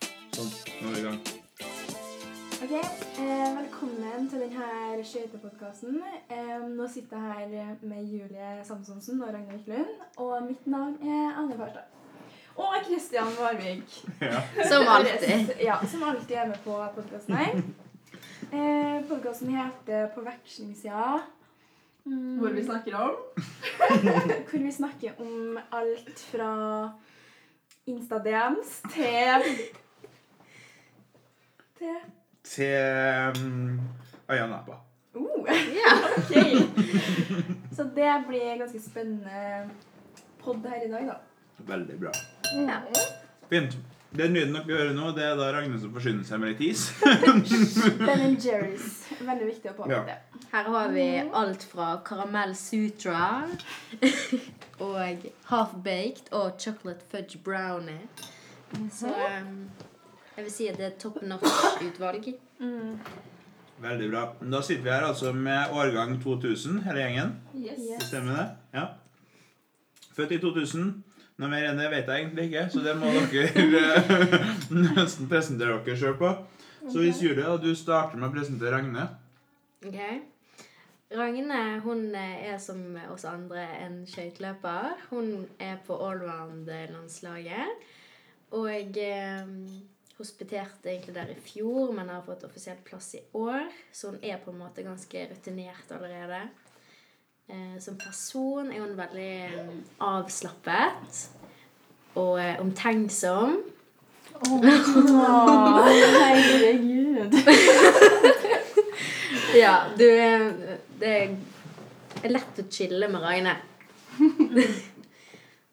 Nå er vi i gang. Ok, eh, Velkommen til denne skøytepodkasten. Eh, nå sitter jeg her med Julie Samsonsen og Ragnar Wiklund. Og mitt navn er Anne Farstad. Og Kristian Varvik. Ja. Som alltid. Ja, som alltid er med på podkasten her. Eh, podkasten heter På vekslingssida. Mm, Hvor vi snakker om hvor vi snakker om alt fra Insta-DMs til Til Til um, Ayanapa. oh. Ja. Ok. Så det blir en ganske spennende podd her i dag, da. Veldig bra. ja. Fint. Den lyden dere hører nå, det er da Ragnhild som forsyner seg med litt is. Ben and Jerry's. Veldig viktig å påpeke. Her har vi alt fra karamell sutra og half-baked og chocolate fudge brownie. Så Sånn. um, jeg vil si at det er top notch utvalg. Mm. Veldig bra. Da sitter vi her altså med årgang 2000, hele gjengen. Yes. Yes. Stemmer det? Ja. Født i 2000. Noe mer enn det vet jeg egentlig ikke, så det må dere eh, nesten presentere dere sjøl på. Så hvis Julie, da, du starter med å presentere Ragne. Ok? Ragne hun eh, er som oss andre en skøyteløper. Hun er på allround-landslaget. Og eh, hospiterte egentlig der i fjor, men har fått offisiell plass i år. Så hun er på en måte ganske rutinert allerede. Eh, som person er hun veldig eh, avslappet og eh, omtenksom. Åh, herregud. Ja, du eh, Det er lett å chille med Ragne.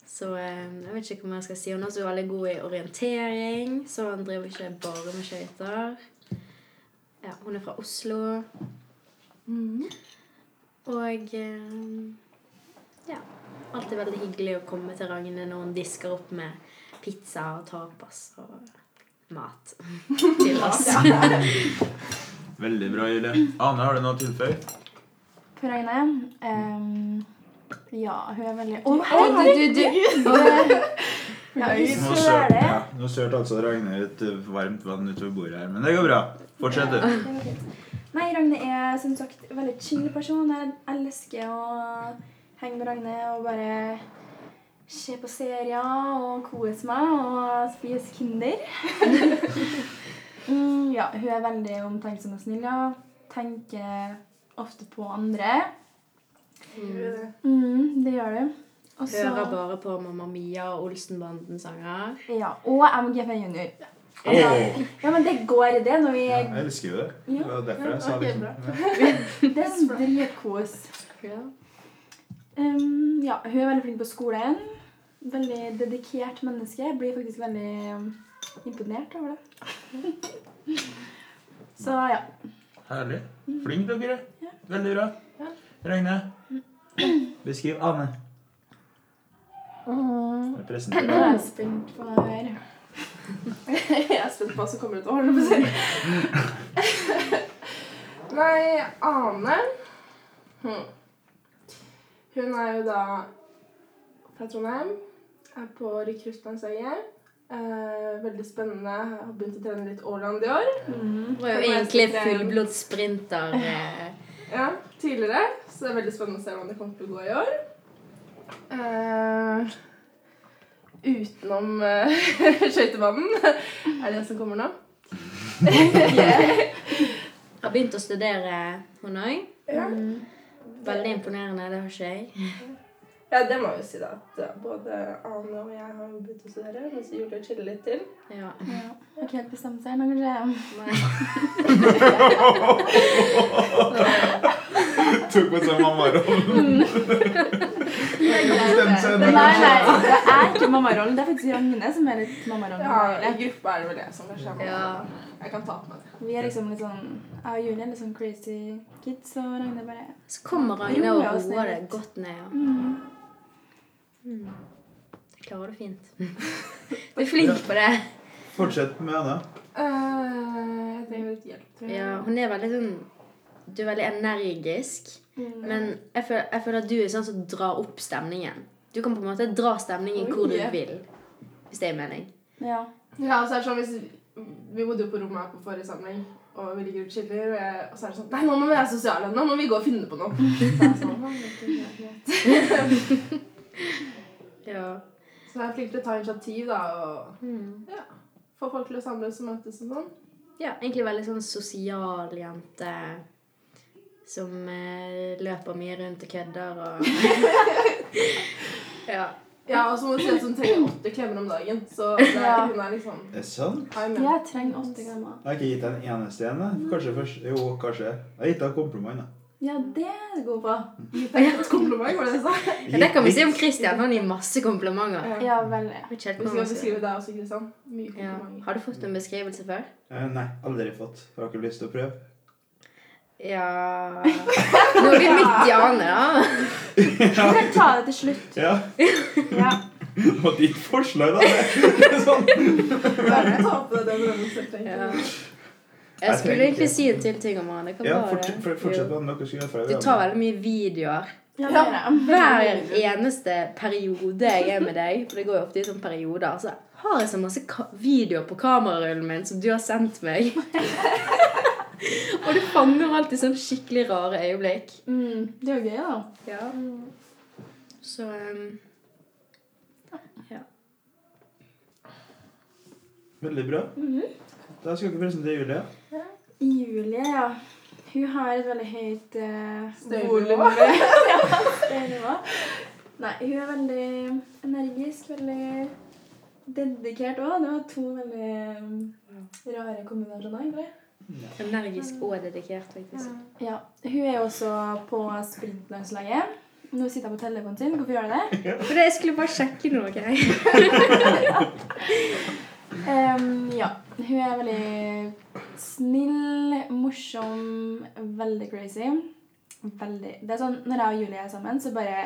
så eh, jeg vet ikke hva jeg skal si. Hun er også veldig god i orientering, så hun driver ikke bare med skøyter. Ja, hun er fra Oslo, og eh, ja. Alltid veldig hyggelig å komme til Ragne når hun disker opp med pizza og tapas og mat til oss. Veldig bra, Julie. Ane, har du noe å tilføye? For Agne ehm, Ja, hun er veldig Å, Å, herregud, du, du. Ja, hun Nå søler. sølte ja, nå sølte altså Ragne ut eh, varmt vann utover bordet her, men det går bra. Fortsett, du. Det var fint. Nei, Ragne er som sagt en veldig chill person. Jeg elsker å henge med Ragne og bare se på serier og kose meg og spise Kinder. mm, ja, hun er veldig omtenksom og snill. Ja. Tenker ofte på andre. Mm. Mm, det gjør du. Og så- Hører bare på Mamma Mia og Olsenbanden-sanger. Ja, og MGP Junior. Ja. Åh, Ja, men det går i det når vi ja, jeg elsker jo det. Det var derfor jeg sa Ja, ok, liksom bra. ja. Det er sånn dritkos. Ja. Um, ja, hun er veldig flink på skolen. Veldig dedikert menneske. Jeg blir faktisk veldig um, imponert over det. Så ja. Herlig. Flink dere. Veldig bra. Ragne, beskriv Ane. Jeg Nå presenterer. er jeg spent på hva jeg gjør. Jeg er spent på hva som kommer ut av håret. holdt jeg på å si. Nei, Ane hm. Hun er jo da fra Trondheim. Er på rekruttlandslaget. Eh, veldig spennende. Har begynt å trene litt Åland i år. Mm. Var jo egentlig fullblods sprinter. eh. Ja, tidligere. Så det er veldig spennende å se hvordan det kommer til å gå i år. Eh, utenom eh, skøytebanen er det som kommer nå. Har begynt å studere, hun òg. Ja. Veldig imponerende, det har ikke jeg. ja, det må vi si, da. At eh, både Ane og jeg har jo begynt å studere, mens Julie chiller litt til. Ja. Ja. Har ikke helt bestemt seg ennå, kanskje. Nei. Tok på seg mammarollen. Bestemte seg Nei, nå. nei, det er ikke mammarollen. Det er faktisk Ragne som er litt mammarollen. Ja, I gruppa er det vel jeg som kanskje er med. Ja. Jeg kan ta på meg det. Vi er liksom litt sånn Jeg og Julie er litt sånn crazy kids, og Ragne bare Så kommer Ragne Jo, ja, og og roer det snilt. godt ned. Ja. mm. Mm. Jeg klarer det fint. Du er flink på det. Fortsett med Ane. Eh, jeg trenger litt hjelp, tror jeg. Ja, hun er veldig sånn Du er veldig energisk. Mm. Men jeg føler, jeg føler at du er sånn som drar opp stemningen. Du kan på en måte dra stemningen hvor du Oi. vil. Hvis det gir mening. Ja. Ja, altså, det er sånn, hvis Vi bodde jo på rommet her på forrige samling, og vi ligger og chiller. Og, jeg, og så er det sånn Nei, nå må vi være sosiale. Nå må vi gå og finne på noe. Så jeg er sånn, «Å, det er ikke greit». Ja. så jeg er flink til å ta initiativ da, og Mm. få folk til å samles og møtes og sånn. ja. Egentlig veldig sånn sosial jente som eh, løper mye rundt og kødder og Ja. Ja, og så må du si at hun trenger åtte klemmer om dagen. Så det er, hun er liksom Er det sant? high men. Jeg trenger åtte grammer. Jeg har ikke gitt deg en eneste en. jeg. Kanskje først Jo, kanskje. Jeg har gitt deg kompliment, da. Ja, det er du god på. Gitt deg et kompliment, var det det du sa? Ja, Det kan vi si om Christian. Han gir masse komplimenter. Ja. Ja, veldig. Jeg vet ikke helt Vi hva skal man skal- beskrive deg også, Kristian. Mye Ja. komplimenter. Har du fått en beskrivelse før? Eh, Nei, aldri fått. Har dere lyst til å prøve? Ja Nå er vi midt i Ane, da. Vi kan ta det til slutt. Ja. Ja. Og ditt forslag, da? Det er sånn. Bare ta på deg det drømmeselvtenken. Ja. Jeg Jeg skulle tenker- egentlig si en til ting om Ane. Hva Ja, var fort, det? for, fortsett med det dere skulle gjøre fra Jo. Du tar veldig mye videoer. Ja, det gjør jeg. Hver eneste periode jeg er med deg, for det går jo ofte i sånne perioder, så har jeg så masse ka videoer på kamerarullen min som du har sendt meg. Og du fanger alltid sånn skikkelig rare øyeblikk. Mm, det er jo gøy, da. Ja. Så um, ja. Veldig bra. Da skal dere presentere Julie. Julie, ja. Hun har et veldig høyt eh, Støynivå. volum. ja, støynivå. Nei, hun er veldig energisk, veldig dedikert òg. Det var to veldig um, rare kombinasjoner, egentlig. Energisk og dedikert, faktisk. Ja, Hun er jo også på sprintlandslaget. Nå sitter jeg på telefonen sin. Hvorfor gjør jeg det? For jeg skulle bare sjekke noe. Okay? Em, Ehm, ja. Hun er veldig snill, morsom, veldig crazy. Veldig Det er sånn når jeg og Julie er sammen, så bare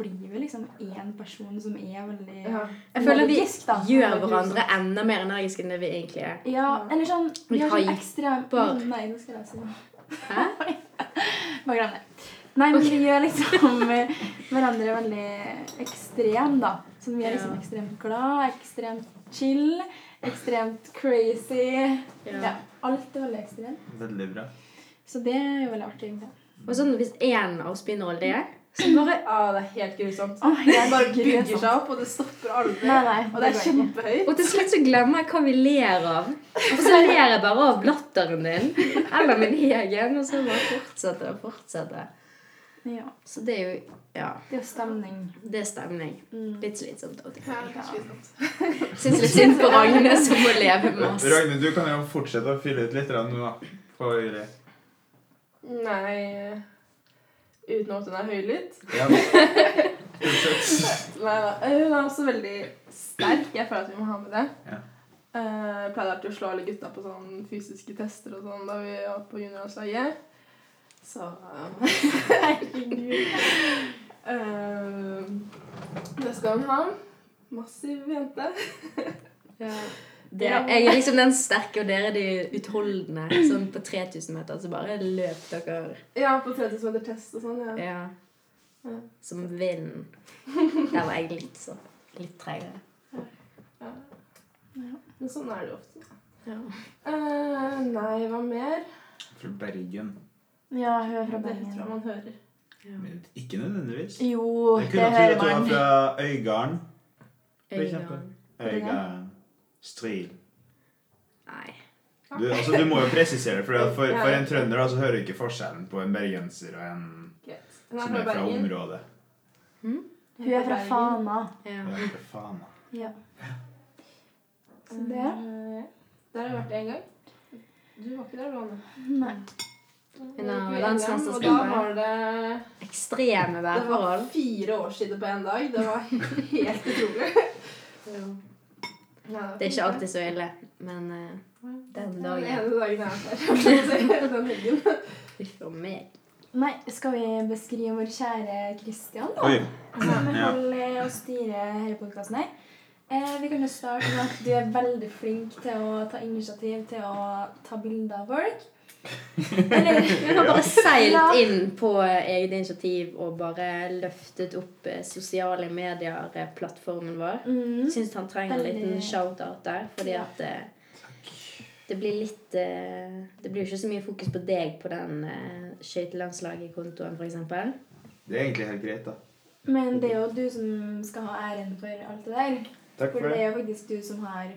blir vi liksom én person som er veldig Ja. Jeg føler vi Logisk, da. gjør hverandre enda mer energiske enn det vi egentlig er. Ja, eller sånn Vi har sånn ekstra Hyper. Nei, nå skal jeg si noe. Hæ? Bare glem det. Nei, men vi gjør liksom eh, hverandre veldig ekstrem, da. Sånn, vi er liksom Ja. ekstremt glad, ekstremt chill, ekstremt crazy. Ja. Ja, alt er veldig ekstremt. Veldig bra. Så det er jo veldig artig. egentlig. Og sånn hvis én av oss begynner å le, så bare Ah, det er helt grusomt. Åh, Det jeg bare liker det bygger sånn. seg opp, og det stopper aldri. Nei, nei, og det er går ikke. kjempehøyt. Og til slutt så glemmer jeg hva vi ler av. Og så ler jeg bare av latteren din. Eller min egen. Og så bare fortsetter det og fortsetter. Ja, Så det er jo Ja. det er jo stemning. Det er stemning. Mm. Litt slitsomt. av og til. Ja, det er slitsomt. Syns litt synd på Ragnhild som må leve med oss. Ragnhild, du kan jo fortsette å fylle ut litt grann nå, da. På Julie. Nei Uten at hun er høylytt. Ja. Fortsett. Nei da. Eh, Hun er også veldig sterk. Jeg føler at vi må ha med det. Ja. Eh, Jeg pleide alltid å slå alle gutta på sånne fysiske tester og sånn da vi var på juniorlandslaget. Så eh, Herregud. Eh, Det skal hun ha. Massiv jente. Ja. Det, jeg er liksom den sterke, og dere er de utholdende. Sånn på 3000 meter så bare løp dere Ja, på 30 meter test og sånn. Ja. ja. som vinden. Der var jeg litt sånn litt treigere. Ja. Men sånn er det jo ofte. Ja. Eh, nei, hva mer? Fra Bergen. Ja, hun er fra Det tror jeg Bergen. man hører. Men ikke nødvendigvis. Jo, Jeg det kunne trodd hører at du var man. fra Øygarden. For eksempel. Øygarden. Øygarden. Stril. Nei. Du, altså, du må jo presisere, for, for, for en trønder da, så hører du ikke forskjellen på en bergenser og en Greit. Hun som er fra området. Hun er fra Fana. Ja. Ja, for faen, da. Ja. Så Eh, det Der har jeg vært en gang. Du var ikke der, du, Anne. Nei. Hun Jeg har gikk på landsmesterskapet. NM, Og da var det Ekstreme Det var værforhold. fire år siden på én dag. Det var helt utrolig. Det er ikke alltid så ille, men eh, den Den dagen ene dagen jeg var der. Den helgen. Uff a meg. Nei, skal vi beskrive vår kjære Kristian, da? Oi. Som Ja. holder Altså, eh, og styrer hele podkasten her. Eh, vi kan jo starte med at du er veldig flink til å ta initiativ til å ta bilder av folk. Eller Hun har bare Ja. seilt inn på eh, eget initiativ og bare løftet opp eh, sosiale medier-plattformen vår. mm, Syns han trenger en Veldig. liten shout-out der, fordi Ja. at eh, det blir litt eh, Det blir jo ikke så mye fokus på deg på den eh, skøytelandslaget-kontoen, f.eks. Det er egentlig helt greit, da. Men det er jo du som skal ha æren for alt det der. Takk For for det det. er jo faktisk du som har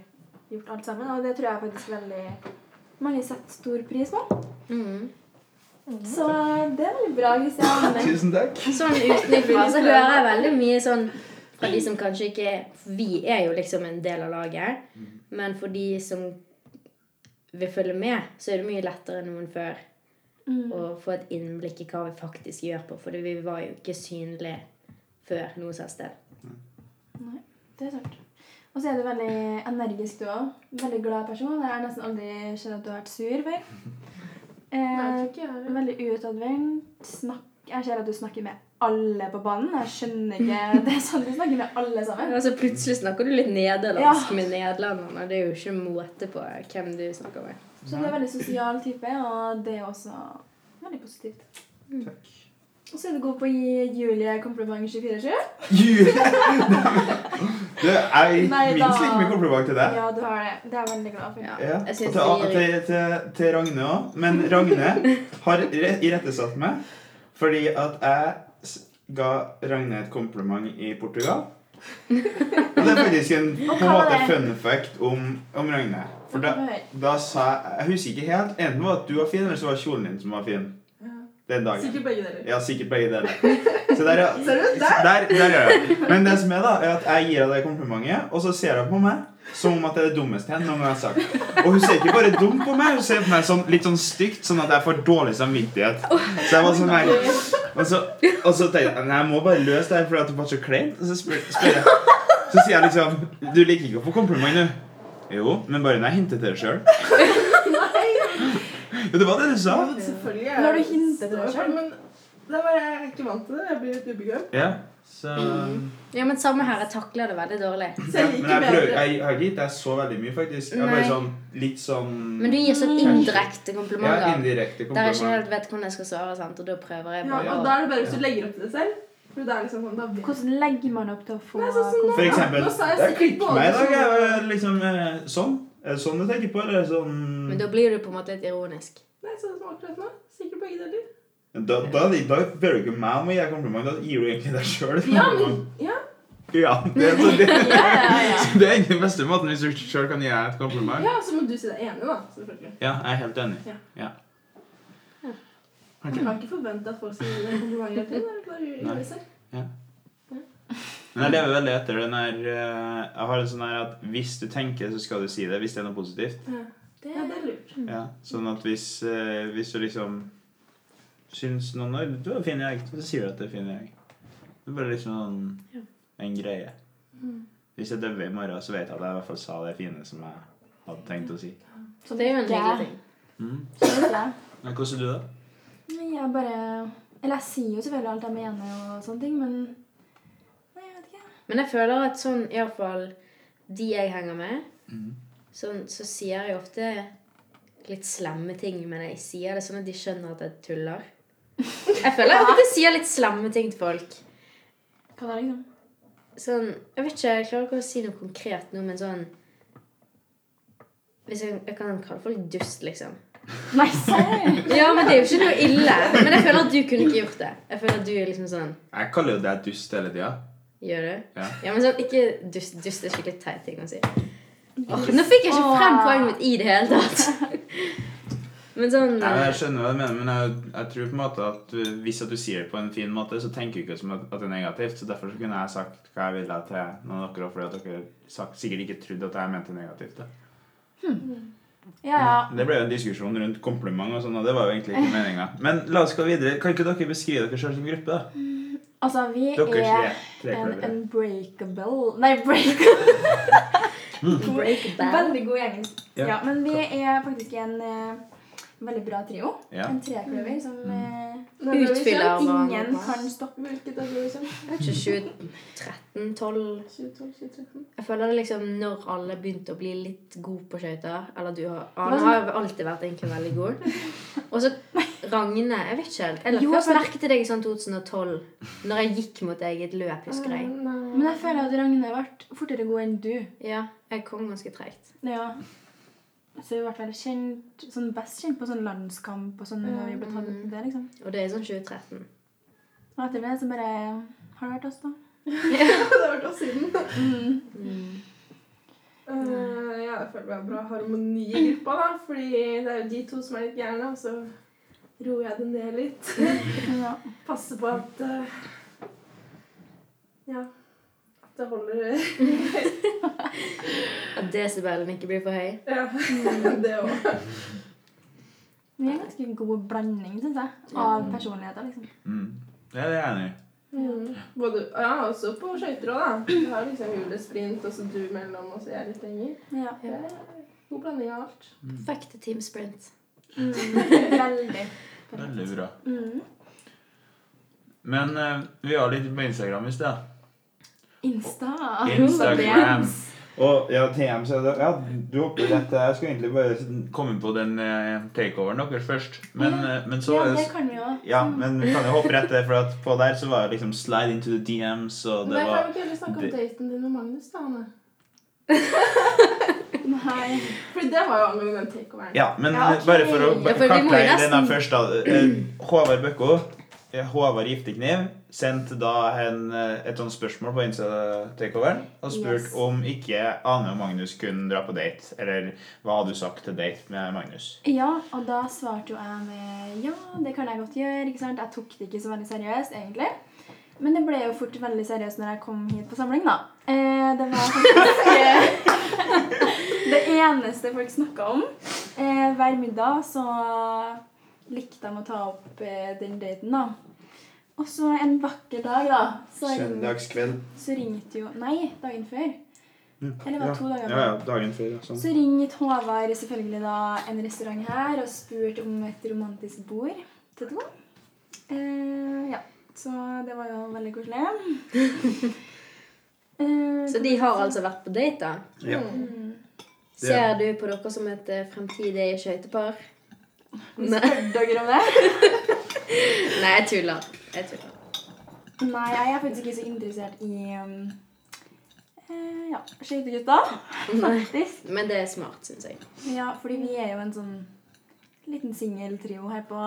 gjort alt sammen, og det tror jeg faktisk veldig mange setter stor pris på. Mm. Så det er veldig bra, Kristian. Tusen takk. Sånn utenfra så hører jeg veldig mye sånn fra de som kanskje ikke Vi er jo liksom en del av laget, men for de som vil følge med, så er det mye lettere enn noen før Mm. å få et innblikk i hva vi faktisk gjør på, for vi var jo ikke synlige før noe sånt sted. Nei, det er sant. Og så er du veldig energisk, du òg. Veldig glad person. Jeg har nesten aldri skjønt at du har vært sur før. Nei, Eh, ikke jeg heller. veldig utadvendt. Snakk, jeg ser at du snakker med alle på banen. Jeg skjønner ikke Det er sånn du snakker med alle sammen. Altså Plutselig snakker du litt nederlandsk med nederlenderne. Det er jo ikke måte på hvem du snakker med. Så du er veldig sosial type, og det er også veldig positivt. Mm. Takk. Og så er du god på å gi Julie kompliment 24-7. Julie! Du, jeg Nei, gir da. minst like mye kompliment til deg. Ja, du har det. Det er jeg veldig glad for. Ja. Ja. Jeg Og synes til, det gir- til, til, til Ragne òg. Men Ragne har re- irettesatt meg fordi at jeg s- ga Ragne et kompliment i Portugal. Og det er faktisk en på en hva var måte det? fun fact om, om Ragne. For da, Hør. da sa jeg Jeg husker ikke helt. Enten var det at du var fin, eller så var det kjolen din som var fin. Den dagen. Sikkert begge deler. Ja, sikkert begge deler. Så der, ja. Ser du? Der! Der, der gjør jeg det. Men det som er, da, er at jeg gir deg det komplimentet, og så ser hun på meg som om at det er det dummeste jeg noen gang har sagt. Og hun ser ikke bare dum på meg, hun ser på meg sånn, litt sånn stygt, sånn at jeg får dårlig samvittighet. Så jeg var sånn her Og så, og så tenkte jeg nei, jeg må bare løse det her fordi at det var så kleint. Og så spør, spør jeg Så sier jeg liksom Du liker ikke å få kompliment, du? Jo, men bare når jeg hinter til det sjøl. Jo, det var det du sa. Ja, men Selvfølgelig. er Men har du jeg- hintet til deg selv? Men det er bare jeg er ikke vant til det. Jeg blir litt ubekvem. Ja, så Ja, men samme her. Jeg takler det veldig dårlig. Så Ja, jeg men liker jeg, prøver, bedre. jeg har ikke gitt deg så veldig mye, faktisk. Jeg er bare Nei. sånn, litt sånn Men du gir sånn indirekte ja, komplimenter. indirekte Der jeg ikke kompliment. helt vet hvordan jeg skal svare, sant? og da prøver jeg Ja, bare og å da er det bare hvis du legger opp til det selv. For det er liksom sånn, da vet Hvordan legger man opp til å få Nei, sånn som nå. For eksempel Nå sa jeg Det er sikkert klikk både meg i dag. Jeg sånn- er liksom eh, sånn. Er det sånn du tenker på, eller er det sånn Men da blir du på en måte litt ironisk. Nei, sånn som akkurat nå. Sikkert begge deler. Da, da, da ber du ikke meg om å gi deg kompliment, da gir du egentlig deg sjøl et Ja, men kompliment. ja. Ja, det, er- så det, ja, ja. så det er egentlig den beste måten hvis du sjøl kan gi deg et kompliment. ja, så må du si deg enig, da. Selvfølgelig. Ja, jeg er helt enig. Ja. Ja. Du kan ikke forvente at folk skal gi deg komplimenter hele tiden. det er Nei. Bare å gjøre det selv. Men jeg lever veldig etter den her eh, Jeg har en sånn her at hvis du tenker, så skal du si det hvis det er noe positivt. Ja. Det ja, det er er lurt. Ja, sånn at hvis, eh, hvis du liksom syns noen er Du er fin i egg, så sier du at det er fin i egg. Det er bare liksom sånn Ja. en greie. Hvis jeg dør i morgen, så vet jeg at jeg i hvert fall sa det fine som jeg hadde tenkt å si. Sånn Så det er jo en Ja. hyggelig ting. Mm. lurt. Men hvordan er du, da? Nei, jeg bare Eller jeg sier jo selvfølgelig alt jeg mener og sånne ting, men Nei, jeg vet ikke. Men jeg føler at sånn, iallfall de jeg henger med, Mhm. sånn, så sier jeg ofte litt slemme ting, men jeg sier det sånn at de skjønner at jeg tuller. Jeg føler jeg ofte sier litt slemme ting til folk. Hva da, liksom? Sånn, jeg vet ikke, jeg klarer ikke å si noe konkret nå, men sånn hvis jeg, jeg kan kalle folk dust, liksom. Nei, serr? Ja, men det er jo ikke noe ille. Men jeg føler at du kunne ikke gjort det. Jeg føler at du er liksom sånn Jeg kaller jo deg dust hele tida. Gjør du? Ja. men sånn, ikke dust. Dust er skikkelig teit ting å si. Åh, nå fikk jeg ikke frem Åh. poenget mitt i det hele tatt. Men Mm. sånn Jeg skjønner hva du mener, men jeg, jeg tror på en måte at du, hvis at du sier det på en fin måte, så tenker du ikke som at, at det er negativt. Så derfor så kunne jeg sagt hva jeg ville til noen av dere, fordi at dere sagt, sikkert ikke trodde at jeg mente negativt. Da. Ja, ja. Det ble jo en diskusjon rundt kompliment og sånn, og det var jo egentlig ikke meninga. Men la oss gå videre. Kan ikke dere beskrive dere sjøl som gruppe, da? Altså, vi Dere tre. er tre en kløver. unbreakable Nei, breakable. sånn- break bad. Veldig god engelsk. Ja, Ja, men vi er faktisk en eh, veldig bra trio. Ja. Mm. En trekløver som eh, Når ble vi Utfyller. kjent? Ja, hva- ingen hva- kan stoppe. Hvilket år ble vi kjent? 2013-12 2012-2013? Jeg føler det liksom når alle begynte å bli litt gode på skøyter Eller du har Hva Ane som- har jo alltid vært egentlig veldig god. Og så Ragne Jeg vet ikke helt. Jeg la Jo, først men- merke til deg i sånn 2012, når jeg gikk mot deg i et løp, husker Eh, jeg. Men jeg føler at Ragne ble fortere god enn du. Ja, jeg kom ganske tregt. Ja. Så vi ble vel kjent, sånn best kjent på sånn landskamp og sånn. når vi ble tatt ut til det, liksom. Og det er sånn 2013. Og etter det så bare har det vært oss, da. det har vært oss siden. Mm. Eh, ja, jeg føler vi har bra harmoni i gruppa, da. Fordi det er jo de to som er litt gærne, og så roer jeg det ned litt. Ja. Passer på at eh, Ja. At det holder At desibelen ikke blir for høy. Ja, Mm. det òg. Vi er en ganske god blanding, syns jeg, av personligheter, liksom. Mm. Ja, det er jeg enig i. Mm. Både, ja, også på skøyter òg, da. Du har liksom julesprint, og så du mellom, og så jeg litt lenger. Ja. Det er God blanding av alt. Perfekte team sprint. Mm. Veldig. Veldig bra. Mm. Men eh, vi har litt på Instagram i sted. Insta. Instagram. Og ja, TM, så da, ja, du hopper rett der. Jeg skulle egentlig bare komme på den eh, takeoveren deres først. Men, eh, men så ja, det kan vi jo. Ja, men vi kan jo hoppe rett der, for at på der så var det liksom slide into the DMs, og Men det jeg kan var jo ikke heller snakke om det- daten din og Magnus, da, Anne. Nei. Fordi det var jo angående den takeoveren. Ja, men eh, Ja, ok. bare for å Ja, for vi må jo kartlegge denne nesten- først, da. Eh, Håvard Bøkko, eh, Håvard Giftekniv, sendte da en, eh, et sånt spørsmål på Insta-takeoveren og spurte Yes. om ikke Ane og Magnus kunne dra på date. Eller hva hadde du sagt til date med Magnus? Ja, og da svarte jo jeg med ja, det kan jeg godt gjøre. ikke sant? Jeg tok det ikke så veldig seriøst, egentlig. Men det ble jo fort veldig seriøst når jeg kom hit på samling, da. Eh, det var faktisk eh, det eneste folk snakka om. Eh, hver middag så likte de å ta opp eh, den daten, da. Og så en vakker dag, da, så, ring, Søndagskveld. så ringte jo Nei, dagen før. Eller var det to dager Mm. Ja, ja, dagen før. ja, Sånn. Så ringte Håvard selvfølgelig da en restaurant her og spurte om et romantisk bord til to. Eh, ja, så det var jo veldig koselig. Eh, Så de har altså vært på date, da. Ja. mm. Ser du på dere som et eh, fremtidig skøytepar? Vi Nei. spør dere om det? Nei, jeg tuller. Jeg tuller. Nei, jeg er faktisk ikke så interessert i um, eh, ja, skøytegutta, Nei. faktisk. Men det er smart, syns jeg. Ja, fordi vi er jo en sånn liten singeltrio her på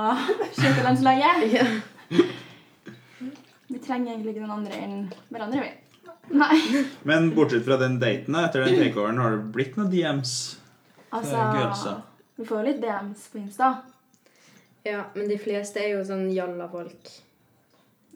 skøytelandslaget. Ja. Vi trenger egentlig ikke noen andre enn hverandre, vi. Nei. Men bortsett fra den daten, da, etter den takeoveren, har det blitt noen DMs? Det er gøy, altså. Altså, vi får jo litt DMs på Insta. ja, men de fleste er jo sånn jalla-folk.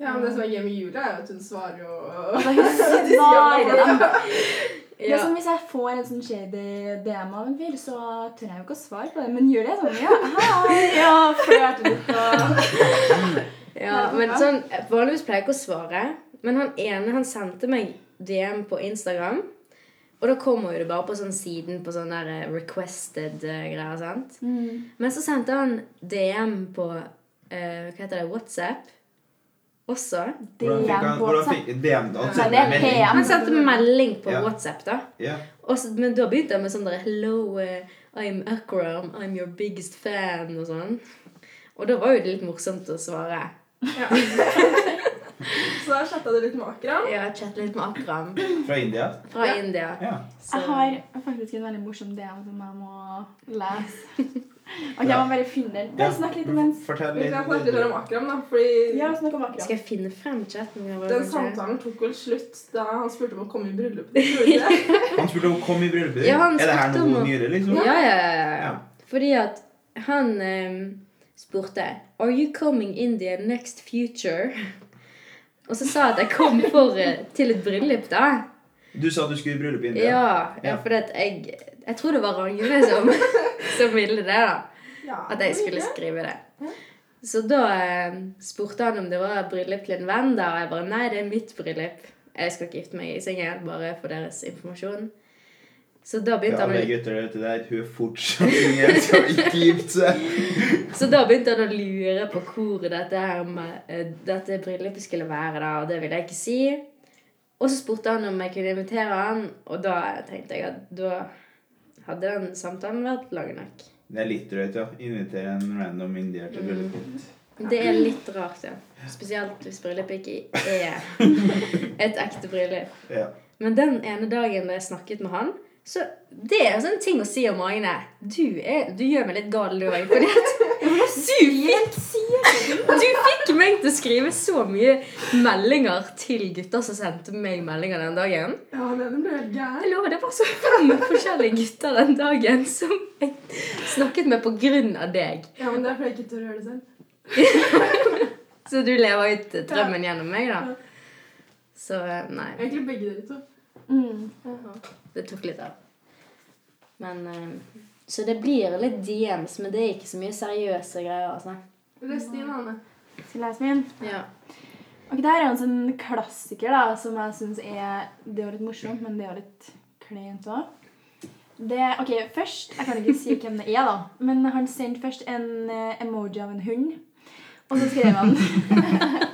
Ja, men det som er gøy med Julie, er jo at hun svarer jo Da husker De Altså, jeg bare sier dem. Det er Ja. som Hvis jeg får en sånn shady DM av en fyr, så tør jeg jo ikke å svare på det. Men Julie er sånn Ja, hei, ja, flørte litt og ja, men sånn, Vanligvis pleier jeg ikke å svare. Men han ene han sendte meg DM på Instagram. Og da kommer jo det bare på sånn siden på sånn der eh, requested eh, greier. sant? Mm. Men så sendte han DM på eh, hva heter det, WhatsApp også. Hvordan fikk han DM på hvordan fikk- WhatsApp. DM, da? Nei, det er PM. Han sendte meg melding på Ja. WhatsApp, da. Ja. Og så, men da begynte jeg med sånn der Hello, eh, I'm Akram, I'm your biggest fan, og sånn. Og da var jo det litt morsomt å svare. ja. Så da chatta du litt med Akram. Jeg har chattet litt med Akram Fra India? fra Ja. India. Ja. så- Jeg har faktisk en veldig morsom DM som jeg må lese. Ok, jeg må bare finne den. Bare snakk litt imens. Fortell Vi kan snakke litt litt. om Akram, da, fordi Ja, snakk om akkurat. Skal jeg finne frem chatten? Jeg bare den kanskje- samtalen tok vel slutt da han spurte om å komme i bryllupet til Julie. Han spurte om kom i bryllupet ditt. Ja, han er det her spurte noe om- nyere, liksom? Ja, ja, ja, ja. Ja. Fordi at han eh, spurte Are you coming in the next future? Og så sa jeg at jeg kom for, eh, til et bryllup, da. Du sa at du skulle i bryllup i India. Ja, ja Ja. fordi at jeg Jeg tror det var Ragnhild som, som ville det, da. Ja, At jeg skulle Julie. skrive det. Ja. Så da eh, spurte han om det var bryllup til en venn, da, og jeg bare Nei, det er mitt bryllup. Jeg skal ikke gifte meg i singel, bare for deres informasjon. Så da Ja, begynte han alle gutter der ute der, hun er fortsatt ingen skal ikke gifte seg. Så da begynte han å lure på hvor dette, her med, eh, dette bryllupet skulle være, da, og det ville jeg ikke si. Og så spurte han om jeg kunne invitere han, og da tenkte jeg at da hadde den samtalen vært lang nok. Det er litt drøyt, ja. Invitere en random indier til bryllupet Mm. ditt. Det er litt rart, ja. Spesielt hvis bryllupet ikke er et ekte bryllup. Ja. Men den ene dagen da jeg snakket med han, Så det er en sånn ting å si om Agne. Du, er, du gjør meg litt gal, du, Agne. Fordi at du fikk, du fikk meg til å skrive så mye meldinger til gutter som sendte meg meldinger den dagen. Ja, den ble helt gæren. Jeg lover, det var så fem forskjellige gutter den dagen som jeg snakket med på grunn av deg. Ja, men det er fordi jeg ikke tør å gjøre det selv. Så du lever ut drømmen gjennom meg, da. Så eh, nei. Egentlig begge dere to. Mm. Det tok litt av. Men eh, Så det blir litt DMs, men det er ikke så mye seriøse greier, altså. Leste din, Anne. Skal jeg lese min? Ja. Ok, Det her er jo en sånn klassiker da, som jeg syns er Det er jo litt morsomt, men det er jo litt kleint òg. Ok, først Jeg kan ikke si hvem det er, da. Men han sendte først en eh, emoji av en hund. Og så skrev han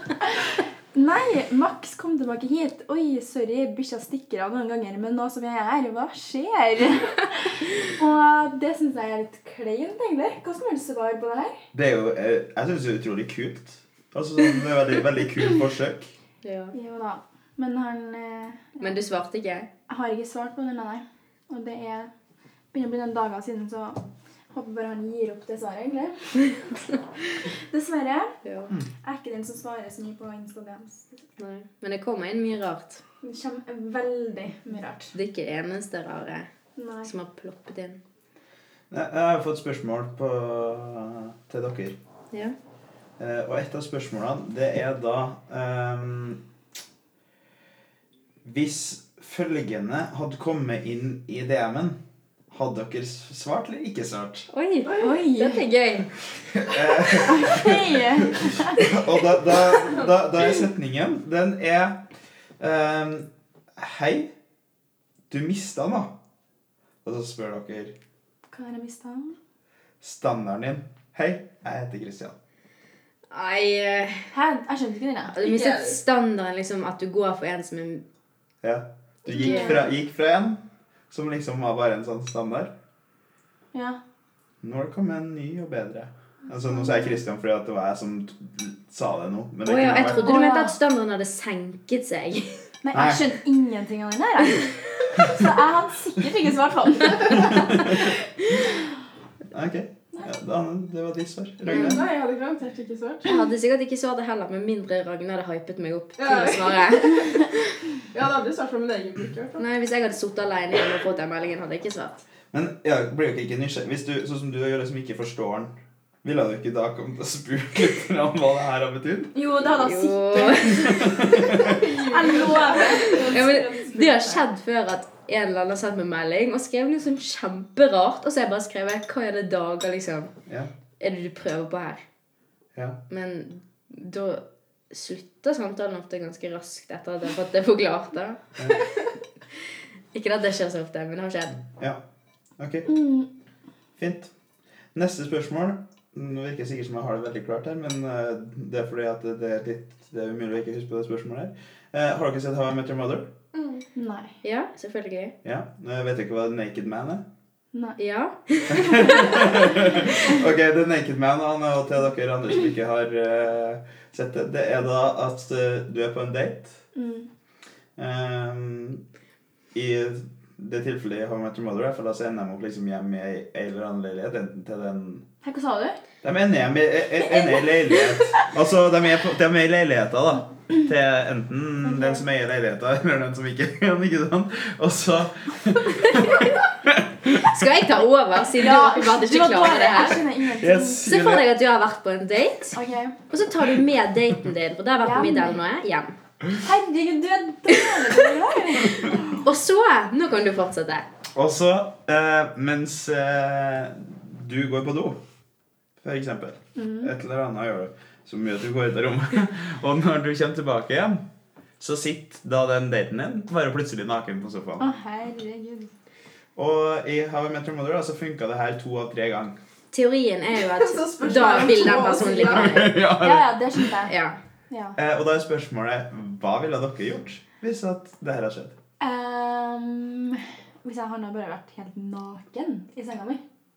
Nei, Max, kom tilbake hit. Oi, sorry, bikkja stikker av noen ganger, men nå som jeg er her, hva skjer? og det syns jeg er litt kleint, egentlig. Hva skal man svare på det her? Det er jo, eh, jeg syns det er utrolig kult. Altså, sånn, det er veldig, veldig kult forsøk. Jo da. Men han eh, Men du svarte ikke? Jeg har ikke svart på den, nei. Og det er begynner å bli noen dager siden, så håper bare han gir opp det svaret, egentlig. Dessverre. Ja. Jeg er ikke den som svarer så mye på Instagrams. Nei. Men det kommer inn mye rart. Det kommer veldig mye rart. Det er ikke det eneste rare Nei. som har ploppet inn. Jeg, jeg har fått spørsmål på, til dere. Ja. Eh, og et av spørsmålene, det er da ehm, Hvis følgende hadde kommet inn i DM-en, hadde dere s- svart eller ikke svart? Oi! Oi! Dette er gøy. Hei! Og da, da, da, da er setningen Den er ehm, Hei, du mista den, da. Og så spør dere Hva har jeg mista? standarden din. Hei, jeg heter Kristian. Nei eh, Hæ? Jeg skjønte ikke den, jeg. Du mistet standarden, liksom, at du går for en som er Ja. Du gikk fra, gikk fra en som liksom var bare en sånn standard. Ja. Nå har det kommet en ny og bedre. Altså, nå sa jeg Kristian fordi at det var jeg som t- sa det nå. Men Å det ja, kunne jeg vært- trodde du mente at standarden hadde senket seg. Nei, Nei. jeg skjønte ingenting av den her, jeg. Så jeg hadde sikkert ikke svart på den. Ja, ok. Ja, da, det var ditt svar. Ragnar. Nei, jeg hadde garantert ikke svart. Jeg hadde sikkert ikke svart det heller, med mindre Ragnar hadde hypet meg opp til Ja. å svare. Jeg hadde aldri svart for min egen bruk. i hvert fall. Nei, Hvis jeg hadde sittet alene hjemme og fått den meldingen, hadde jeg ikke svart. Men ja, blir dere ikke nysgjerrig Hvis du, sånn som du gjør det som ikke forstår den, ville du ikke da kommet og spurt litt om hva det her har betydd? Jo, det hadde jeg sikkert. Jo. Jeg lover. Ja, men det har skjedd før at en eller annen har sendt meg melding og skrevet noe sånn kjemperart. Og så har jeg bare skrevet 'Hva er det dager', liksom. Ja. Er det du prøver på her? Ja. Men da slutter samtalen ofte ganske raskt etter at jeg har fått det forklart. da. Ikke at det skjer så ofte, men det har skjedd. ja. Ok, Mm. fint. Neste spørsmål. Nå virker det sikkert som jeg har det veldig klart her, men eh, det er fordi at det er litt Det er umulig å ikke huske på det spørsmålet her. Eh, har dere sett How I Met Your Mother? Nei. Ja, selvfølgelig. Ja. Jeg vet ikke hva Naked Man er. Nei. Ja. Ok, The Naked Man, han er jo til dere andre som ikke har eh, sett det. Det er da at eh, du er på en date. Mm. Ehm, I det tilfellet i How I Met Your Mother, for da så ender de opp liksom hjemme i ei ei eller annen leilighet. Enten til den Hæ, hva sa du? De ender hjemme i e- e- ender i leilighet. Altså, de er, på, de er i leiligheta, da. Til enten den som eier leiligheta, eller den som ikke gjør det. Ikke sant? Og så Skal jeg ta over, siden du åpenbart du ikke var klarer dårlig. det Jeg her? skjønner ingenting. Yes. Se for deg at du har vært på en date, Ok. og så tar du med daten din, for det har vært på Hjem. middag eller noe, hjem. Herregud, du er dårlig på det der. Og så Nå kan du fortsette. Og så, eh, mens eh, du går på do, for eksempel Mhm. Et eller annet gjør du som gjør at du går ut av rommet. og når du kommer tilbake igjen, så sitter da den daten din bare plutselig naken på sofaen. Å, herregud. Og i How I Met Your Mother da, så funka det her to av tre ganger. Teorien er jo Så at spørs da det om vil den to personen år ligge med deg. ja. Ja, ja, det skjønte jeg. Ja. Ja. Eh, og da er spørsmålet hva ville dere gjort hvis at det her har skjedd? Ehm, hvis jeg hadde bare vært helt naken i senga mi.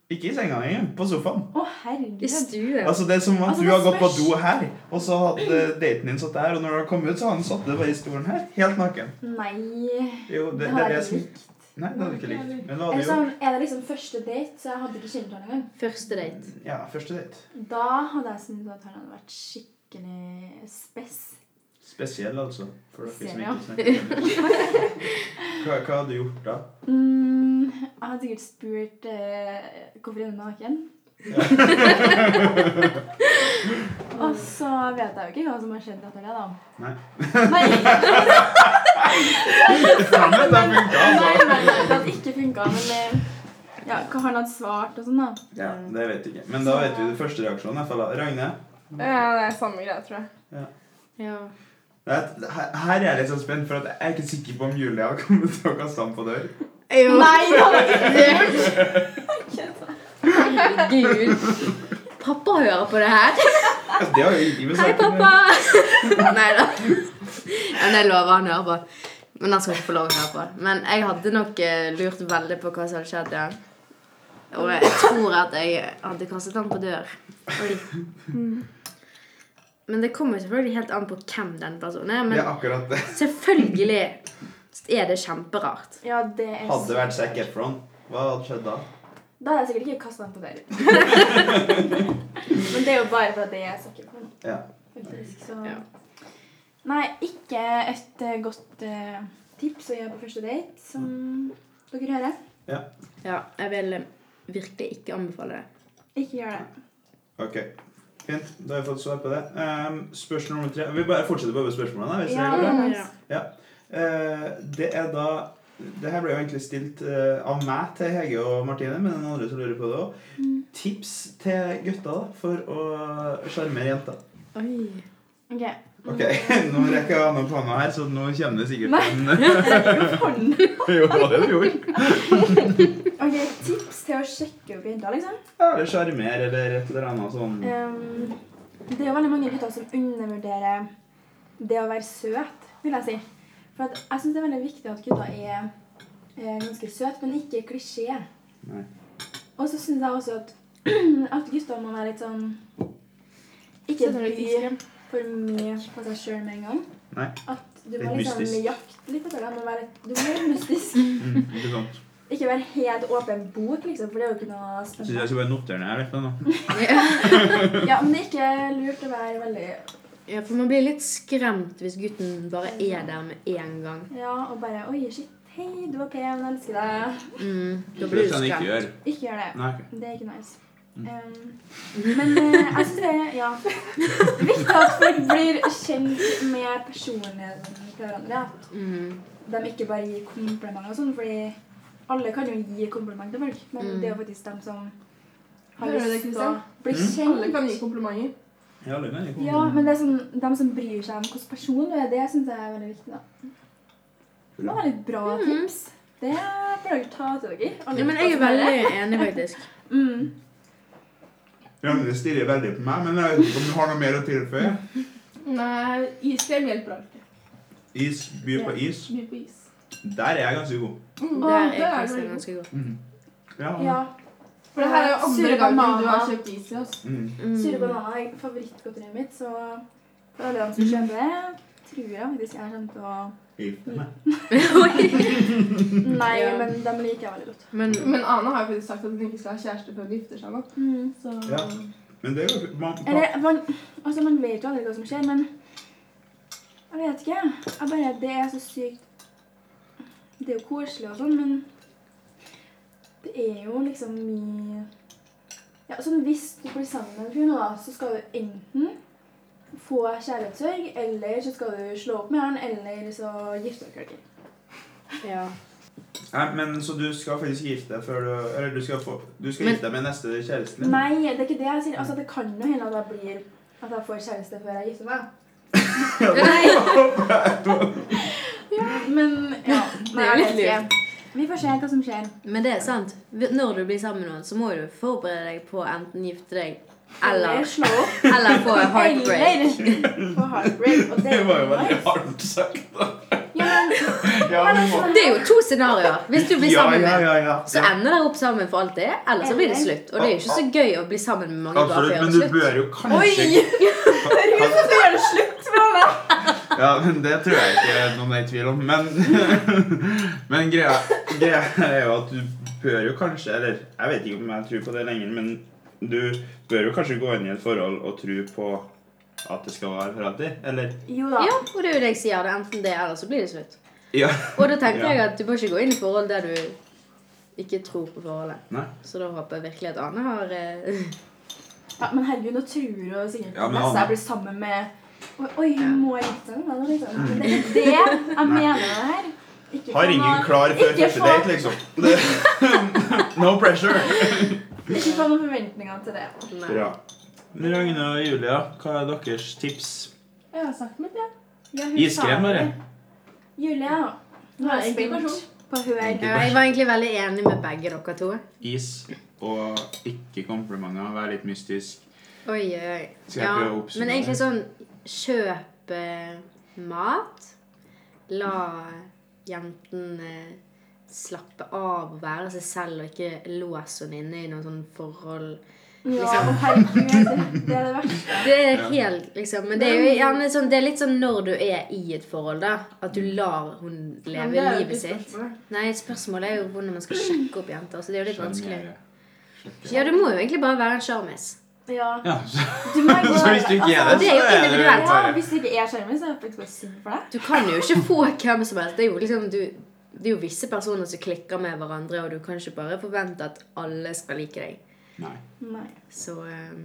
Ikke i senga engang, på sofaen. Å, herregud. I stuen. Altså Det er som om at Altså, du det har gått på spørs- do her, og så hadde daten din satt der, og når du har kommet ut, så har han satt det bare i stolen her, helt naken. Nei. Jo, det, Det det har er det jeg som ikke likt. Nei, det hadde jeg ikke likt. Men hva Eller hadde du gjort? sånn, er det liksom første date, så jeg hadde ikke kjent han engang. Første date. Ja, første date. Da hadde jeg syntes at han hadde vært skikkelig spess. Spesiell, altså. For dere som Ser jeg. ikke snakker engelsk. Hva, hva hadde du gjort da? Mm, jeg hadde sikkert spurt eh, hvorfor er du naken. Og så vet jeg jo ikke hva som har skjedd etter det, da. Nei. Nei, nei, Ja, men det funka, nei, altså. nei, det hadde ikke funka. Men eh, ja, hva han hadde svart og sånn, da. Ja, det vet jeg ikke. Men da vet vi det første reaksjonen. i hvert fall da. Ragne? Ja, det er samme greia, tror jeg. Ja. Det er- Her her er jeg litt sånn spent, for at jeg er ikke sikker på om Julia har kommet til å kaste ham på dør. Nei, det hadde ikke Herregud. Pappa hører på det her. Altså, det har jo ingenting med Hei, saken å gjøre. pappa! Nei da. Men jeg lover han hører på. Men han skal ikke få lov å høre på. Men jeg hadde nok eh, lurt veldig på hva som hadde skjedd. Ja. Og jeg tror at jeg hadde kastet han på dør. Oi. Mm. Men det kommer jo selvfølgelig helt an på hvem den personen er. Det Men er akkurat det. selvfølgelig er det kjemperart. Ja, det er Hadde det vært Zac Efron, hva hadde skjedd da? Da hadde jeg sikkert ikke kasta den på døren. Men det er jo bare fordi det er sakkerkorn. Ja. Faktisk, så Ja. Nei, ikke et eh, godt eh, tips å gjøre på første date, som dere hører. Ja, jeg vil eh, virkelig ikke anbefale det. Ikke gjør det. Ok, fint. Da har jeg fått svar på det. Ehm, spørsmål nummer tre. Vi bare fortsetter bare med spørsmålene. da, Hvis det Ja, er bra. nice. Ja. Eh, det er da Det her ble jo egentlig stilt eh, av meg til Hege og Martine, men den andre som lurer på det òg. Mm. Tips til gutta da, for å sjarmere jenta. Oi. Ok. Ok, Nå rekker jeg å ha noe på hånda her, så nå kommer det sikkert Nei. en Jo, det var det du gjorde. ok, tips til å sjekke opp jenter, liksom. Ja, Eller sjarmer eller et eller annet sånn. Ehm, det er jo veldig mange gutter som undervurderer det å være søt, vil jeg si. For at jeg syns det er veldig viktig at gutter er eh, ganske søte, men ikke klisjé. Nei. Og så syns jeg også at, at gutter må være litt sånn Ikke Ikke by for mye på seg sjøl med en gang. Nei. At du Litt må liksom mystisk. jakte litt etter det. Du må være litt, du må være litt mystisk. Mm, ikke sant. Ikke være helt åpen bok, liksom, for det er jo ikke noe Syns jeg spennende. skal bare notere ned litt nå. Ja, Men det er ikke lurt å være veldig Ja, for man blir litt skremt hvis gutten bare er der med en gang. Ja, og bare Oi, shit. Hei, du er pen. Jeg elsker deg. Mm, da Det blir du skal jeg ikke skremt. gjøre. Ikke gjør det. Nei, ok. Det er ikke nice. Um, men eh, jeg syns det er ja, viktig at folk blir kjent med personligheten til hverandre. At Mm, de ikke bare gir komplimenter og sånn, fordi alle kan jo gi komplimenter til folk, men Mm. det er jo faktisk dem som har Hører du det, lyst til å Kristian? bli Mm. Alle kan kjent. gi komplimenter. Ja, alle kan ikke Ja, men det er sånn, dem som bryr seg om hvilken person du er, det syns jeg er veldig viktig. da. Det var litt bra Mm. tips. Det bør dere ta til dere. alle Ja, men jeg er som hører. veldig enig, faktisk. mm. Ragnhild stirrer veldig på meg, men jeg vet ikke om du har noe mer å tilføye. Nei, iskrem hjelper alltid. Is, by på is. Mye på is. Der er jeg ganske god. Mm, Der er det jeg du. faktisk ganske god. Mm. Ja. Ja. For det her er jo andre Sure gangen du bananer. har kjøpt is til oss. Mm. Sure Mm. bananer er favorittgodteriet mitt, så for alle dem som kjøper det, tror jeg faktisk jeg kommer til å Gifte meg. Mm. Nei, Ja. men dem liker jeg veldig godt. Men Men Ane har jo faktisk sagt at hun ikke skal ha kjæreste før hun gifter seg nå. Mm. Så Ja. Men det er jo man, man, Eller, man, altså, man vet jo aldri hva som skjer, men Jeg vet ikke. Jeg bare, Det er så sykt Det er jo koselig og sånn, men det er jo liksom mye Ja, sånn Hvis du blir sammen med en fyr nå, da, så skal du enten få kjærlighetssorg, eller så skal du slå opp med han, eller så gifte dere ikke. ja. Nei, men så du skal faktisk gifte deg før du Eller du skal, få, du skal Men- gifte deg med neste kjæresten din? Nei, det er ikke det jeg sier. Altså, Det kan jo hende at jeg blir at jeg får kjæreste før jeg gifter meg. Men ja. Nei, er jo jeg vet ikke. Vi får se hva som skjer. Men det er sant. Når du blir sammen med noen, så må du forberede deg på å enten gifte deg eller, slå opp. eller få en heartbreak. Eller få heartbreak. Og det, Det var jo veldig nice. hardt sagt, da. Ja, Ja, men, men men- altså, Det er jo to scenarioer. Hvis du blir ja, sammen ja, med ja, ja. så ender dere opp sammen for alltid, eller så blir det Eller- slutt. Og det er jo ikke så gøy å bli sammen med mange bare Absolutt, før men det du er slutt. bør jo kanskje Kan- skal gjøre det slutt med meg. Ja, men det tror jeg ikke noen er i tvil om. Men, men greia Greia er jo at du bør jo kanskje Eller jeg vet ikke om jeg tror på det lenger, men du bør jo kanskje gå inn i et forhold og tro på at det skal vare for alltid. Eller Jo da. Ja, og det er jo det jeg sier. Det er enten det, eller så blir det slutt. Ja. Og da tenker Ja. jeg at du bør ikke gå inn i forhold der du ikke tror på forholdet. Nei. Så da håper jeg virkelig at Ane har eh, Ja, men herregud, nå tror du jo sikkert Ja, ja, men Nessa Anne- blir sammen med Oi, Oi, må jeg gifte meg nå, liksom? Men Det er det jeg mener med det her. Ikke Har få ingen noe- klar før ikke første få- date, liksom. Det, no pressure. Ikke få noen forventninger til det. nei. Bra. Ragna og Julia, hva er deres tips? Jeg har sagt mitt, jeg. Ja, hun Iskrem, sa- bare. Julia, nå er jeg Enkel person. spent på hør. Ja, jeg var egentlig veldig enig med begge dere to. Is og ikke komplimenter. Vær litt mystisk. Oi, oi, oi. Skal jeg Ja, prøve å oppsummere? men egentlig sånn Kjøp eh, mat. La jenten eh, slappe av og være seg selv, og ikke lås henne inne i noen sånn forhold. Ja, Liksom. og herregud, det er det verste. Det er helt, liksom, men det er jo gjerne sånn, det er litt sånn når du er i et forhold, da. At Mm. du lar hun Men leve det er jo livet ikke sitt. spørsmålet. Nei, spørsmålet er jo hvordan man skal sjekke opp jenter. Så det er jo litt vanskelig. Sjarmere. Ja, det må jo egentlig bare være en sjarmis. Ja. Ja, så, Du må gå så hvis du ikke er det, så altså, det er jo er det individuelt. Ja, hvis du ikke er skjermen, så er jeg faktisk bare sur for deg. Du kan jo ikke få hvem som helst. Det er jo liksom du det er jo visse personer som klikker med hverandre, og du kan ikke bare forvente at alle skal like deg. Nei. Nei. Så eh,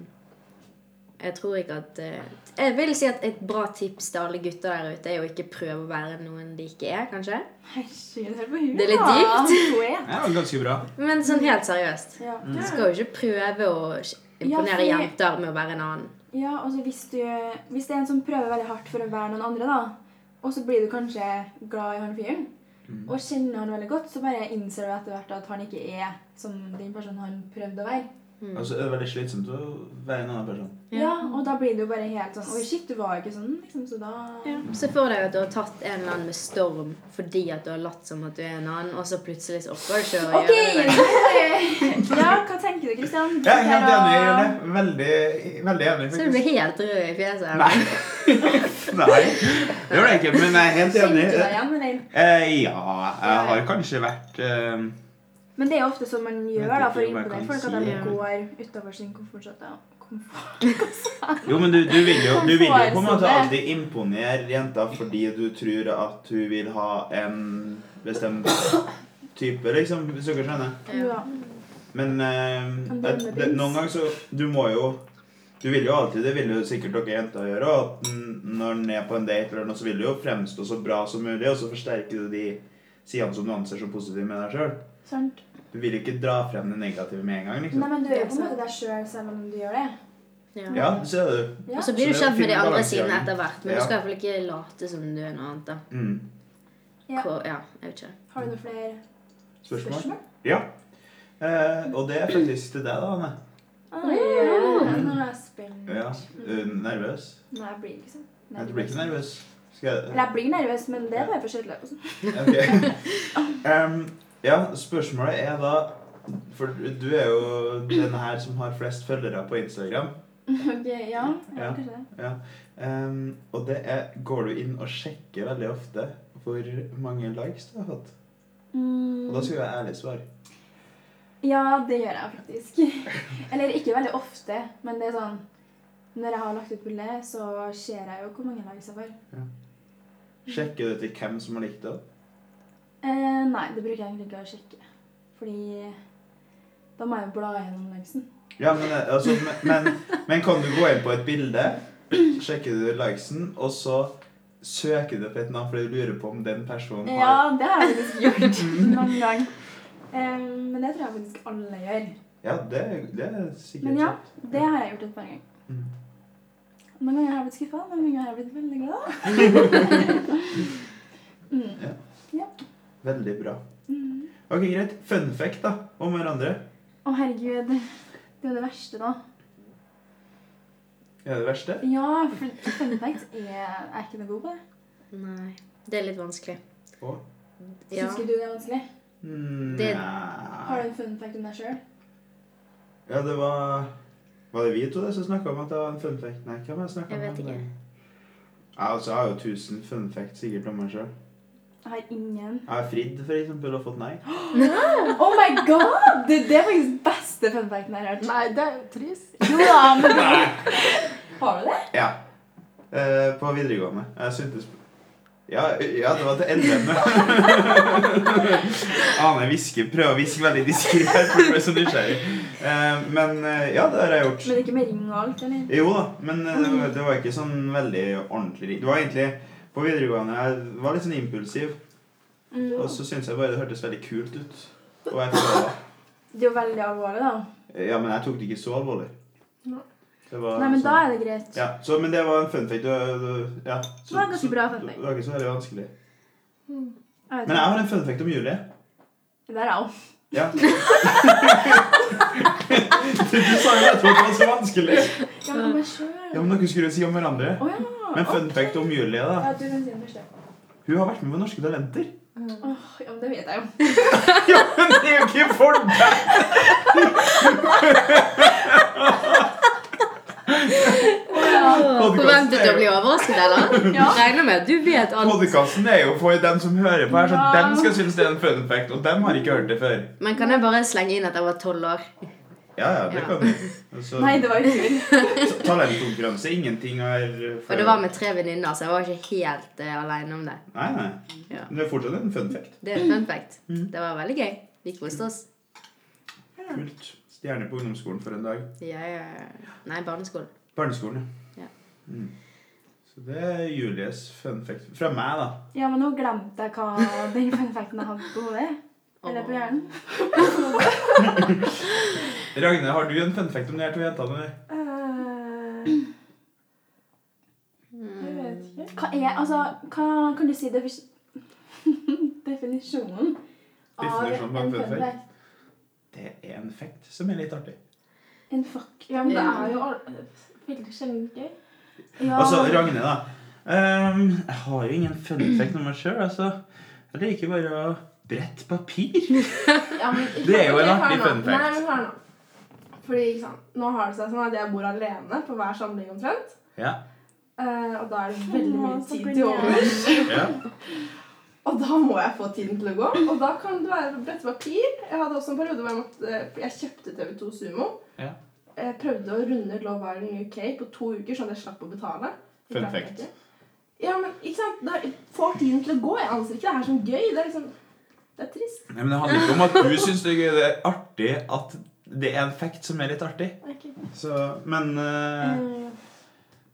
jeg tror ikke at eh, Jeg vil si at et bra tips til alle gutter der ute er jo ikke prøve å være noen de ikke er, kanskje. Herregud, hør på hun. Det er litt da. dypt. Poet. Ja, ganske bra. Men sånn helt seriøst. Mm. E. Ja. Du skal jo ikke prøve å imponere Ja, for- jenter med å være en annen. ja, og så hvis du Hvis det er en som prøver veldig hardt for å være noen andre, da, og så blir du kanskje glad i han fyren, Mm. og kjenner han veldig godt, så bare innser du etter hvert at han ikke er som den personen han prøvde å være. Mm. Altså- Og så Altså, er det veldig slitsomt å være en annen person. Ja. Ja, og da blir det jo bare helt sånn Oi, shit, du var jo ikke sånn, liksom, så da Se for deg at du har tatt en eller annen med storm fordi at du har latt som at du er en annen, og så plutselig så orker du ikke å Ok! gjøre det. ja, hva tenker du, Kristian? Ja, helt enig. Jeg gjør det. Veldig, veldig enig, Så du blir faktisk. helt rød i fjeset. Nei. Nei. Det gjør det ikke, men jeg er helt enig. Kjente du deg igjen, eller? Eh, ja, jeg har kanskje vært eh, Men det er jo ofte sånn man gjør vet ikke da, for å om jeg kan imponere folk, si at de det. går utafor sin komfortsone. Komfort. Jo, men du, du vil jo, du vil jo på en måte Foreslå det. alltid imponere jenta fordi du tror at hun vil ha en bestemt type, liksom. Hvis dere skjønner. Ja. Men eh, Kan du at, med det, prins? noen ganger så Du må jo Du vil jo alltid Det vil jo sikkert dere jenter gjøre. og At n- når en er på en date, eller noe, så vil du jo fremstå så bra som mulig, og så forsterker du de sidene som du anser som positive med deg sjøl. Sant. Du vil jo ikke dra frem det negative med en gang. liksom. Nei, men du er jo på en måte deg sjøl selv om du gjør det. Ja. Ja, det ser du. Ja. Og så Så blir du det kjent med de finner andre balansegangen. sidene etter hvert, men Ja. du skal iallfall ikke late som du er noe annet. da. Mm. Ja. Hvor, ja, jeg vet ikke. Har du noen flere Spørsmål? spørsmål? Ja. Eh, og det er faktisk til deg, da, Anne. Ah, ja. Nå er jeg spent. Mm. Ja. eh, nervøs? Nei, jeg blir liksom Nei, du blir ikke nervøs? Skal jeg Eller jeg blir nervøs, men det er bare for skøyteløp. og sånn. Ok. Em, ja, spørsmålet er da For du er jo den her som har flest følgere på Instagram. Ok, ja. ja, Ja. kanskje det. Em, og det er Går du inn og sjekker veldig ofte hvor mange likes du har fått? Og da Mm. skal jeg ha ærlig svar. Ja, det gjør jeg faktisk. Eller ikke veldig ofte, men det er sånn Når jeg har lagt ut bilde, så ser jeg jo hvor mange likes jeg får. Sjekker du til hvem som har likt det? Eh, nei, det bruker jeg egentlig ikke å sjekke. Fordi da må jeg jo bla gjennom likesen. Ja, men, eh, altså, men, men, men kan du gå inn på et bilde, sjekker du likesen, og så søker du på et navn fordi du lurer på om den personen har Ja, det har jeg faktisk gjort noen gang. Eh, men det tror jeg faktisk alle gjør. Ja, det, det er sikkert Men ja, sant. det har jeg gjort et par ganger. Mm. Noen ganger har jeg blitt skuffa, noen ganger har jeg blitt veldig glad. mm. Veldig bra. Mm. Ok, greit. Fun fact da, om hverandre. Å, herregud. Det er jo det verste, da. Er det verste? Ja, for fun fact er jeg er ikke noe god på det. Nei. Det er litt vanskelig. Å? Ja. Syns ikke du det er vanskelig? Mm, Det- Nei. Har du en fun fact om deg sjøl? Ja, det var... Var det vi to det som snakket om at det var en fun fact? Nei, hvem har jeg snakket om? Jeg vet det? Ja, altså, jeg har jo tusen fun facts sikkert om meg selv. Jeg har ingen. Jeg har fridd, for eksempel, og fått nei. Oh my god! Det, det er faktisk beste funfacten jeg har hørt. Nei, det er jo trist. Jo da, men Har du det? Ja. Eh, på videregående. Jeg syntes ja, ja, det var til NM. Ane hvisker. Prøver å hviske veldig diskré her, for du ble så nysgjerrig. Eh, men eh, ja, det har jeg gjort. Men ikke med ring og alt, eller? Jo da, men eh, det var, det var ikke sånn veldig ordentlig ring. Det var egentlig På videregående jeg var litt sånn impulsiv, Mm. og så syntes jeg bare det hørtes veldig kult ut. Og jeg prøvde. Det er jo veldig alvorlig, da. Ja, men jeg tok det ikke så alvorlig. Nei. Det var Nei, men sånn- da er det greit. ja, så, Men det var en fun fact. Det, det, ja, så, Det var en ganske så- bra fun fact. Det var ikke så veldig vanskelig. Jeg vet Men jeg har en fun fact om Julie. ikke. Det er alt. Ja. du sa jo etterpå at det var så vanskelig. Ja, men om meg selv. Ja, men Dere skulle jo si om hverandre. Å ja. Men fun fact om Julie, da. Ja, du kan si den første. Hun har vært med på Norske Talenter. Åh, ja, men det vet jeg jo. Ja, men det er jo ikke for deg! Forventet du å bli overrasket, eller? Ja. Regner med at du vet alt. Podkasten er jo for dem som hører på her, så Ja. dem skal synes det er en fun fact. Og dem har ikke hørt det før. Men kan jeg bare slenge inn at jeg var tolv år? Ja, ja, det Ja. kan du. Altså, Nei, det var i fjor. ta- Talentkonkurranse, ingenting er for- Og det var med tre venninner, så jeg var ikke helt eh, alene om det. Nei, nei. Ja. Men det er fortsatt en fun fact. Det er et fun fact. Mm. Det var veldig gøy. Vi koste oss. Kult. Stjerne på ungdomsskolen for en dag. Ja, ja, ja. Nei, barneskolen. Barneskolen, Ja. Mm. Så det er Julies fun fact. Fra meg, da. Ja, men nå glemte jeg hva den fun facten jeg hadde på hodet. Eller på hjernen. Ragne, har du en fun fact om de her to jentene? eller? Eh, jeg Mm. vet ikke. Hva er Altså, hva kan du si defis definisjonen av en Definisjonen på en fun fun fact? fact? Det er en fact som er litt artig. En fuck. Ja, men det er jo al- veldig sjelden gøy. Ja. Altså, Ragne, da. Ehm, jeg har jo ingen fun fact om meg sjøl. Altså. Jeg liker bare å brette papir. Ja, men, ikke- Det er jo en ikke- artig hør nå. fun fact. Nei, men hør nå. Fordi, ikke sant, Nå har det seg sånn at jeg bor alene på hver samling omtrent. Ja. Eh, og da er det veldig Å, mye så tid blir til jeg- overs. Ja. Og da må jeg få tiden til å gå. Og da kan det være å brette papir. Jeg hadde også en periode hvor jeg, måtte, eh, jeg kjøpte TV2 Sumo. Ja. Jeg prøvde å runde Love Island UK på to uker, sånn at jeg slapp å betale. Det Fun klarte jeg fact. ikke. Ja, men ikke sant? Da jeg får tiden til å gå. Jeg anser ikke det her som gøy. Det er liksom Det er trist. Nei, men det handler ikke om at du syns det er gøy. Det er artig at det er en fact som er litt artig. Det er ikke- Så, men eh, Eh,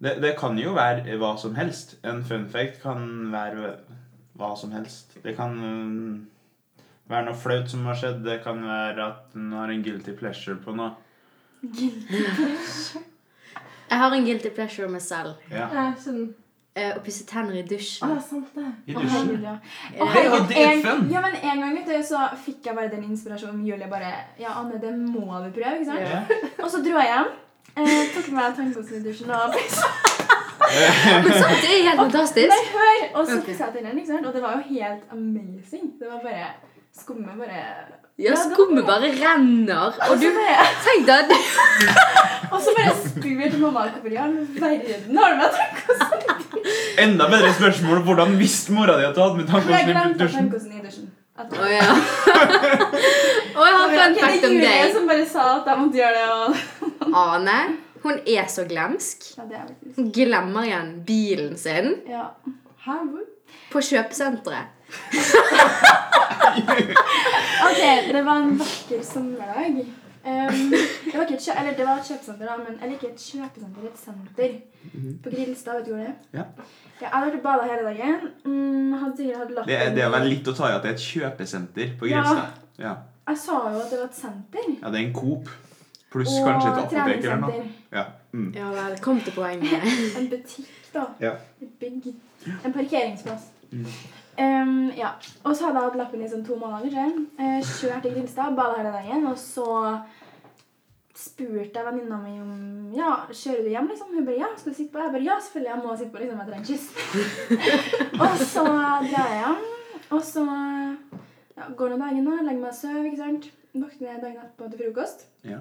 det, det kan jo være hva som helst. En fun fact kan være hva som helst. Det kan eh, være noe flaut som har skjedd. Det kan være at en har en guilty pleasure på noe. Jeg har en guilty pleasure med meg selv. Ja. Jeg skjønner. Eh, Å pusse tenner i Å, det dusjen. Eh, er Ah, sant, det. I Å, dusjen. herregud, ja. Ja. Å, herregud, Ja, det er en- fun. Ja, men En gang vet du, så fikk jeg bare den inspirasjonen om Julie bare Ja, Anne, det må du prøve. ikke sant? Ja. Og så dro jeg hjem. Eh, tok med meg tannkosten i dusjen og Men sant, det er helt fantastisk. Nei, hør! Og så Ok. pussa jeg tennene, ikke sant? Og det var jo helt amazing. Det var bare Skummet bare Ja, skummet bare Og renner. Og du så bare, Tenk da at og så bare spurte jeg til mamma hvorfor i all verden har du med tannkosten? Enda bedre spørsmål hvordan visste mora di at du hadde med Jeg tannkosten i glemte dusjen? tannkosten i dusjen. At- Å ja. Og jeg har fun Ok, fact om Det er Julie deg. som bare sa at jeg måtte gjøre det, og Ane, hun er så glemsk. Ja, det er faktisk Hun glemmer igjen bilen sin Ja. Hæ, hvor? på kjøpesenteret. Ok, det var en vakker sommerdag. Ehm, det var ikke et kjø eller det var et kjøpesenter, da, men eller ikke et kjøpesenter, et senter. På Grilstad, vet du hvor det er? Mhm. Ja. ja jeg har vært og bada hele dagen. Mm, hadde sikkert hatt Det, er- det er vel litt å ta i at det er et kjøpesenter på Grimstad. Ja. Jeg sa jo at det var et senter. ja, det er en Coop. Pluss kanskje et apotek eller noe. Ja. Mm. Ja vel, kom til poenget. En butikk, da. Ja. Et bygg. En parkeringsplass. Mm. Ehm, ja. Og så hadde jeg hatt lappen i sånn to måneder. kanskje. Eh, kjørt til Grimstad, bada hele dagen, og så spurte jeg venninna mi om Ja, kjører du hjem, liksom? Hun bare ja, skal du sitte på? Jeg bare ja, selvfølgelig, jeg må sitte på, liksom. Jeg trenger kyss. og så drar jeg hjem, og så ja, går noen dager nå, legger meg og sover, ikke sant. Våkner dagen etterpå til frokost. Ja.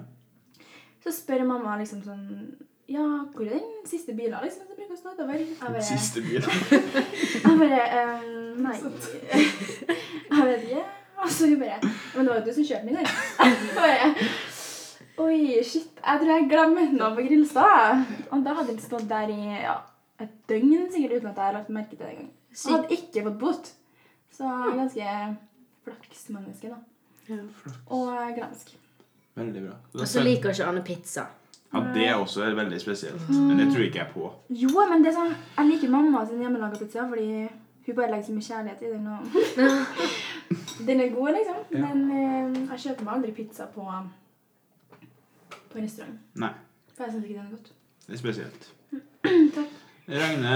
Så spør mamma liksom sånn Ja, hvor er den siste bilen liksom, som bruker å stå utover? Jeg bare, Siste bil. jeg bare ehm, Nei. Jeg vet ikke. Og så hun bare Men det var jo du som kjørte den i dag. Jeg bare, Oi, shit. Jeg tror jeg glemte den på Grilstad. Og da hadde den stått der i ja, et døgn sikkert uten at jeg hadde lagt merke til det engang. Og Sykt. hadde ikke fått bot. Så jeg er ganske flaksmenneske, da. Ja. Og eh, glemsk. Veldig bra. Og så liker ikke Anne pizza. Ja, Det er også veldig spesielt. Men det tror ikke jeg på. Jo, men det er sånn, jeg liker mamma sin hjemmelaga pizza fordi hun bare legger så mye kjærlighet i den. Og den er god, liksom. Men eh, jeg kjøper meg aldri pizza på, på restaurant. Nei. For jeg syns ikke den er godt. Det er spesielt. Takk. Regne,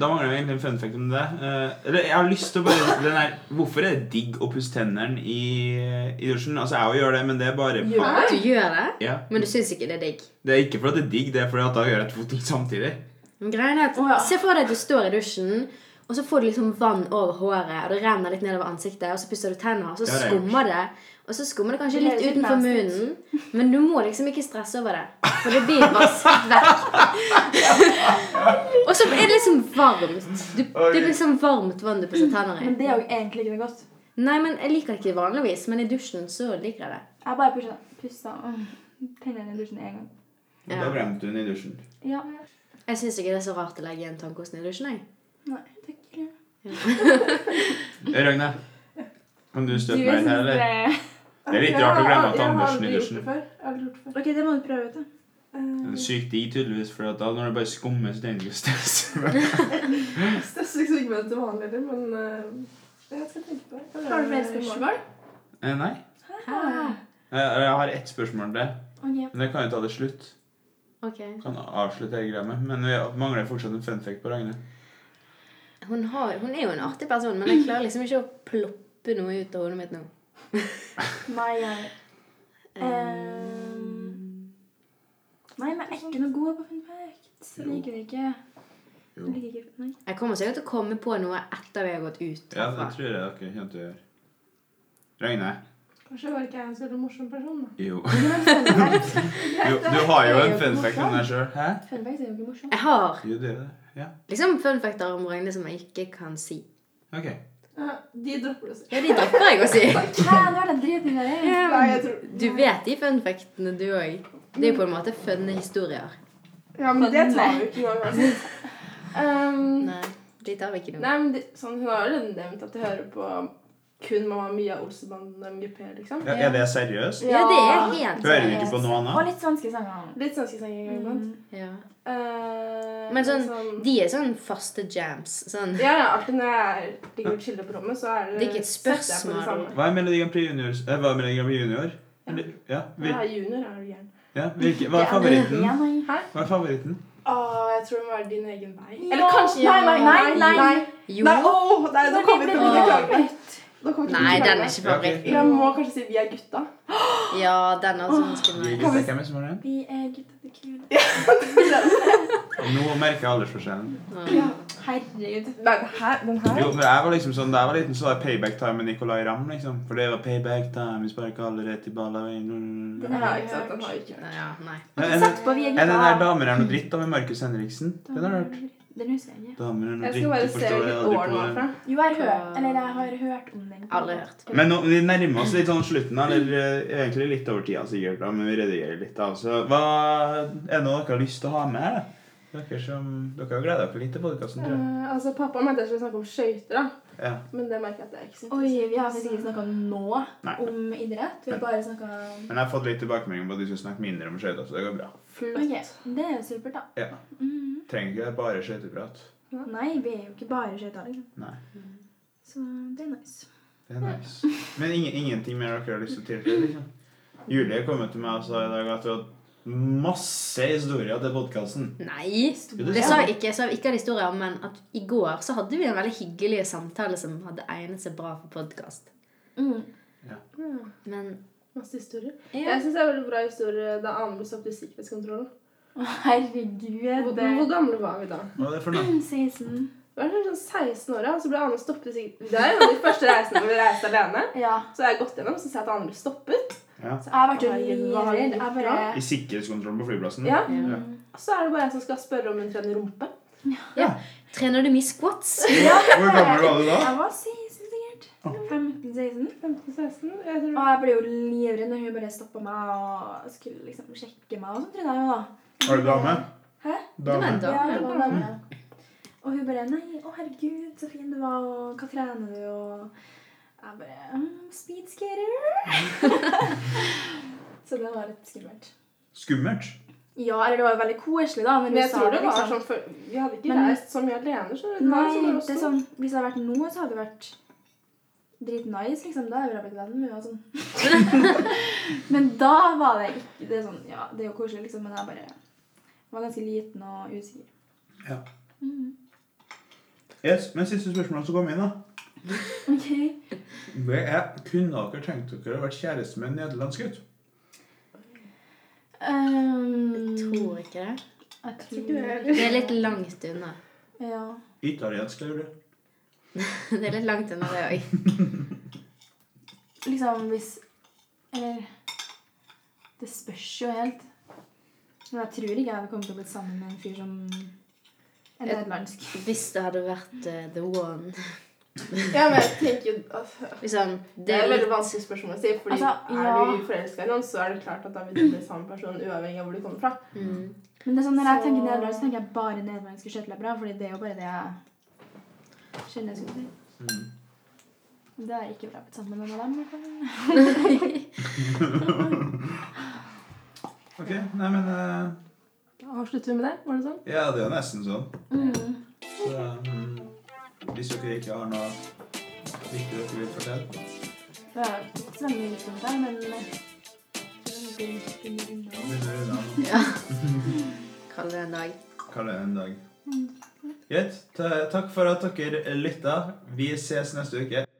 da mangler vi egentlig en fun fact om det. Eh, Eller jeg har lyst til å bare den der, Hvorfor er det digg å pusse tennene i, i dusjen? Altså, jeg òg gjør det, men det er bare Gjør faen- Du gjør det, Ja. men du syns ikke det er digg. Det er ikke fordi det er digg, det er fordi at da gjør jeg to ting samtidig. Men Greien er at, Å, ja. Se for deg at du står i dusjen, og så får du liksom vann over håret, og det renner litt nedover ansiktet, og så pusser du tenner, og så Det har jeg skummer det. Og så skummer det kanskje Det litt høres litt utenfor nasty ut. munnen, men du må liksom ikke stresse over det. For det blir vasket vekk. og så er det liksom varmt. Du, det blir liksom varmt vann du pusser tenner i. Men det er jo egentlig ikke noe godt. Nei, men Jeg liker ikke det vanligvis, men i dusjen så liker jeg det. Jeg bare pusha, pussa mm, tennene i dusjen én gang. Ja. Da bremte hun i dusjen. Ja. Jeg syns ikke det er så rart å legge igjen tannkosten i dusjen. jeg. Nei, takk. Ragna, Eh, kan du Du støtte meg litt her, synes eller? det- Det Ah, er litt rart å glemme Jeg har tannbørsten i aldri gjort dusjen. det før. Jeg har aldri gjort det før. Ok, det må du prøve ut, da. Det er Eh, sykt digg, tydeligvis, for at da når det bare skummer, så tenker du stress. Jeg stresser ikke så mye med det til vanlig heller, men eh, jeg skal tenke på det. Kan Har du gjøre flere det i morgen. spørsmål? Eh, Nei. Hæ? Eh, Jeg har ett spørsmål til, Ok. men det kan jo ta til slutt. Ok. Kan avslutte hele greia med. Men vi mangler fortsatt en fun fact på Ragne. Hun, har, hun er jo en artig person, men jeg klarer liksom ikke å ploppe noe ut av hodet mitt nå. Nei, jeg Ehm, Nei, men jeg er ikke noe god på fun fact. Jeg liker det ikke. Jeg liker ikke nei. Jeg kommer sikkert til å komme på noe etter vi har gått ut. Ja, det herfra. tror jeg dere kommer til å gjøre. Ragne? Kanskje var ikke jeg en så veldig morsom person, da. Jo. Men fun fact- jo. Du har jo en Det er jo fun fact om deg sjøl. Hæ? Fun fact er jo ikke morsomt. Jeg har Jo, det er det. Ja. liksom fun factor om Ragne som jeg ikke kan si. Ok. Ja, de dropper det. Ja, de dropper jeg å si. Nei, nå er det driten der. Nei, jeg tror Du vet de fun factene, du òg. Det er jo på en måte funne historier. Ja, men det tar vi jo ikke engang. Altså. Um, Nei, de tar vi ikke nå. Nei, men det, sånn, Hun har jo allerede nevnt at jeg hører på kun Mamma Mia Olsebanden MGP, liksom. Ja, er det seriøst? Ja, det er helt Hører du ikke på noe Og annet? litt svenske sanger. Mm. Litt sånn svenske sanger iblant. Mm. ja. Eh, Men sånn, De er sånn faste jams. Sånn. Ja, ja, alltid når jeg ligger og chiller på rommet, så er det Det er ikke et setter jeg på det spørsmål. samme. Hva er Melodi Grand Prix Junior? Eh, hva er Melodi Grand Prix Junior? Eller, ja, Jeg hvil, er junior, er du gæren. ja, hvilke, hva er favoritten? Ja, nei. Hva er favoritten? Å, jeg tror det må være din egen vei. Ja. Eller kanskje Ja. Nei, nei, nei! nei. Jo. Nei, åh, nei, nå kommer vi til å bli Åh. klaget. Nå kommer vi til å Nei, bli den er klaget. ikke favoritt. Jeg må kanskje si Vi er gutta. Ja, den er sånn skummel. Hvem er det som har den? Vi er gutta til kule. Nå merker jeg aldersforskjellen. Ja. Herregud. Nei, den her, den her. Jo, men jeg var liksom sånn, Da jeg var liten, så var det payback time med Nicolay Ramm. liksom. For det var payback time, vi sparker alle rett i balla Den Er har Ja, jeg ikke sant, den hørt. har jeg ikke hørt. Nei, Ja, nei. den Sett på Vi er er den der gutta. 'Damer er noe dritt' da, med Markus Henriksen? Den har jeg hørt. Den husker jeg ikke. Damer er noe Jeg dritt, skal bare du se forstår hvilket aldri år på den var det. fra. Jo, jeg har hørt, eller jeg har hørt om den. Aldri hørt. Men nå, vi nærmer oss litt sånn slutten, da, eller eh, egentlig litt over tida sikkert, da, men vi redigerer litt. da, så hva Er det noe dere har lyst til å ha med? her, da? Dere som, dere har gleda dere litt til podkasten, tror jeg. Eh, altså, Pappa mente jeg skulle snakke om skøyter, da. Ja. men det merker jeg at jeg ikke syns. Oi, vi har faktisk ikke snakka nå Nei. om idrett. Vi har bare snakka Men jeg har fått litt tilbakemelding på at du skal snakke mindre om skøyter, så det går bra. Flott. Ok, det er jo supert, da. Ja. Mhm. Trenger ikke bare skøyteprat. Nei, vi er jo ikke bare skøyter, liksom. Nei. Så det er nice. Det er nice. Men ingen, ingenting mer dere har lyst til å tilføye? liksom? Julie kom jo til meg og sa i dag at du hadde masse historier til podkasten. Nei. Det sa jeg ikke. Jeg sa jeg ikke hadde historier, men at i går så hadde vi en veldig hyggelig samtale som hadde egnet seg bra for podkast. Mm. Mm, Men Masse historier. ja. Jeg syns det er veldig bra historie da Ane ble stoppet i sikkerhetskontrollen. Å, herregud. Hvor, hvor gamle var vi da? Hva er det for noe? 16. Vi var sånn 16 år, ja, og så ble Ane stoppet i sikkerhetskontrollen. Det er jo de første reisene hvor vi reiste alene. Ja. Så jeg har gått gjennom, så ser jeg at Ane ble stoppet. Ja. Så jeg har vært jo Herregud, hva har du livredd. Jeg gjort bare I sikkerhetskontrollen på flyplassen. Ja. Ja. Og så er det bare jeg som skal spørre om hun trener rumpe. Trener du mye squats? Hvor gammel var du da? Jeg var 16, sikkert. 15-16. 15-16? Jeg tror Og jeg ble jo livredd når hun bare stoppa meg og skulle liksom sjekke meg. Og sånn trodde jeg jo da. Var du dame? Hæ? Du Dame. venter. Ja, jeg Ja. var dame. Og hun bare 'Nei, å herregud, så fin du var, og hva trener du?' Og jeg bare mm, 'Speed skater'. så det var litt skummelt. Skummelt. Ja, eller det var jo veldig koselig, da. Men, Men jeg hun sa tror det var liksom- sånn for Vi hadde ikke Men- reist så mye alene. Så det var Nei, sånn det er sånn, hvis jeg hadde vært nå, så hadde det vært dritnice, liksom. Da ville jeg blitt venn med henne og sånn. men da var det ikke Det er sånn, ja, det er jo koselig, liksom, men jeg bare var ganske liten og usikker. Ja. Mhm. Yes, men siste spørsmål som kom inn, da. Ok. Det er Kunne dere tenkt dere å vært kjæreste med en nederlandsk gutt? Um, Jeg tror ikke det. Jeg tror ikke det heller. Det er litt langt unna. Ja. Italiensk, eller? Det er litt langt unna det òg. Liksom hvis Eller Det spørs jo helt. Men jeg tror ikke jeg hadde kommet til å bli sammen med en fyr som en Jeg- nederlandsk. Hvis det hadde vært eh, the one Ja, men jeg tenker altså, liksom, Det er et litt- veldig vanskelig spørsmål å si. Fordi Altså, er ja. du forelska i noen, så er det klart at da vil du bli samme person uavhengig av hvor du kommer fra. Mm. Men det er sånn, når jeg Så- tenker nederlandsk, så tenker jeg bare nederlandske skøyteløpere. Fordi det er jo bare det jeg kjenner jeg skulle si. Mm. Det er ikke bra blitt sammen med noen av dem. i hvert fall. Ok, nei, men eh, Avslutter vi med det? Var det sånn? Ja, det er jo nesten sånn. Mm. Så, mm, hvis dere ikke har noe viktig dere vil fortelle Det er jo ikke så veldig utsomt der, men eh, det er noe vi finner unna. Begynner vi unna nå. Kall det en dag. Kall det en dag. Greit. ta- Takk for at dere lytta. Vi ses neste uke.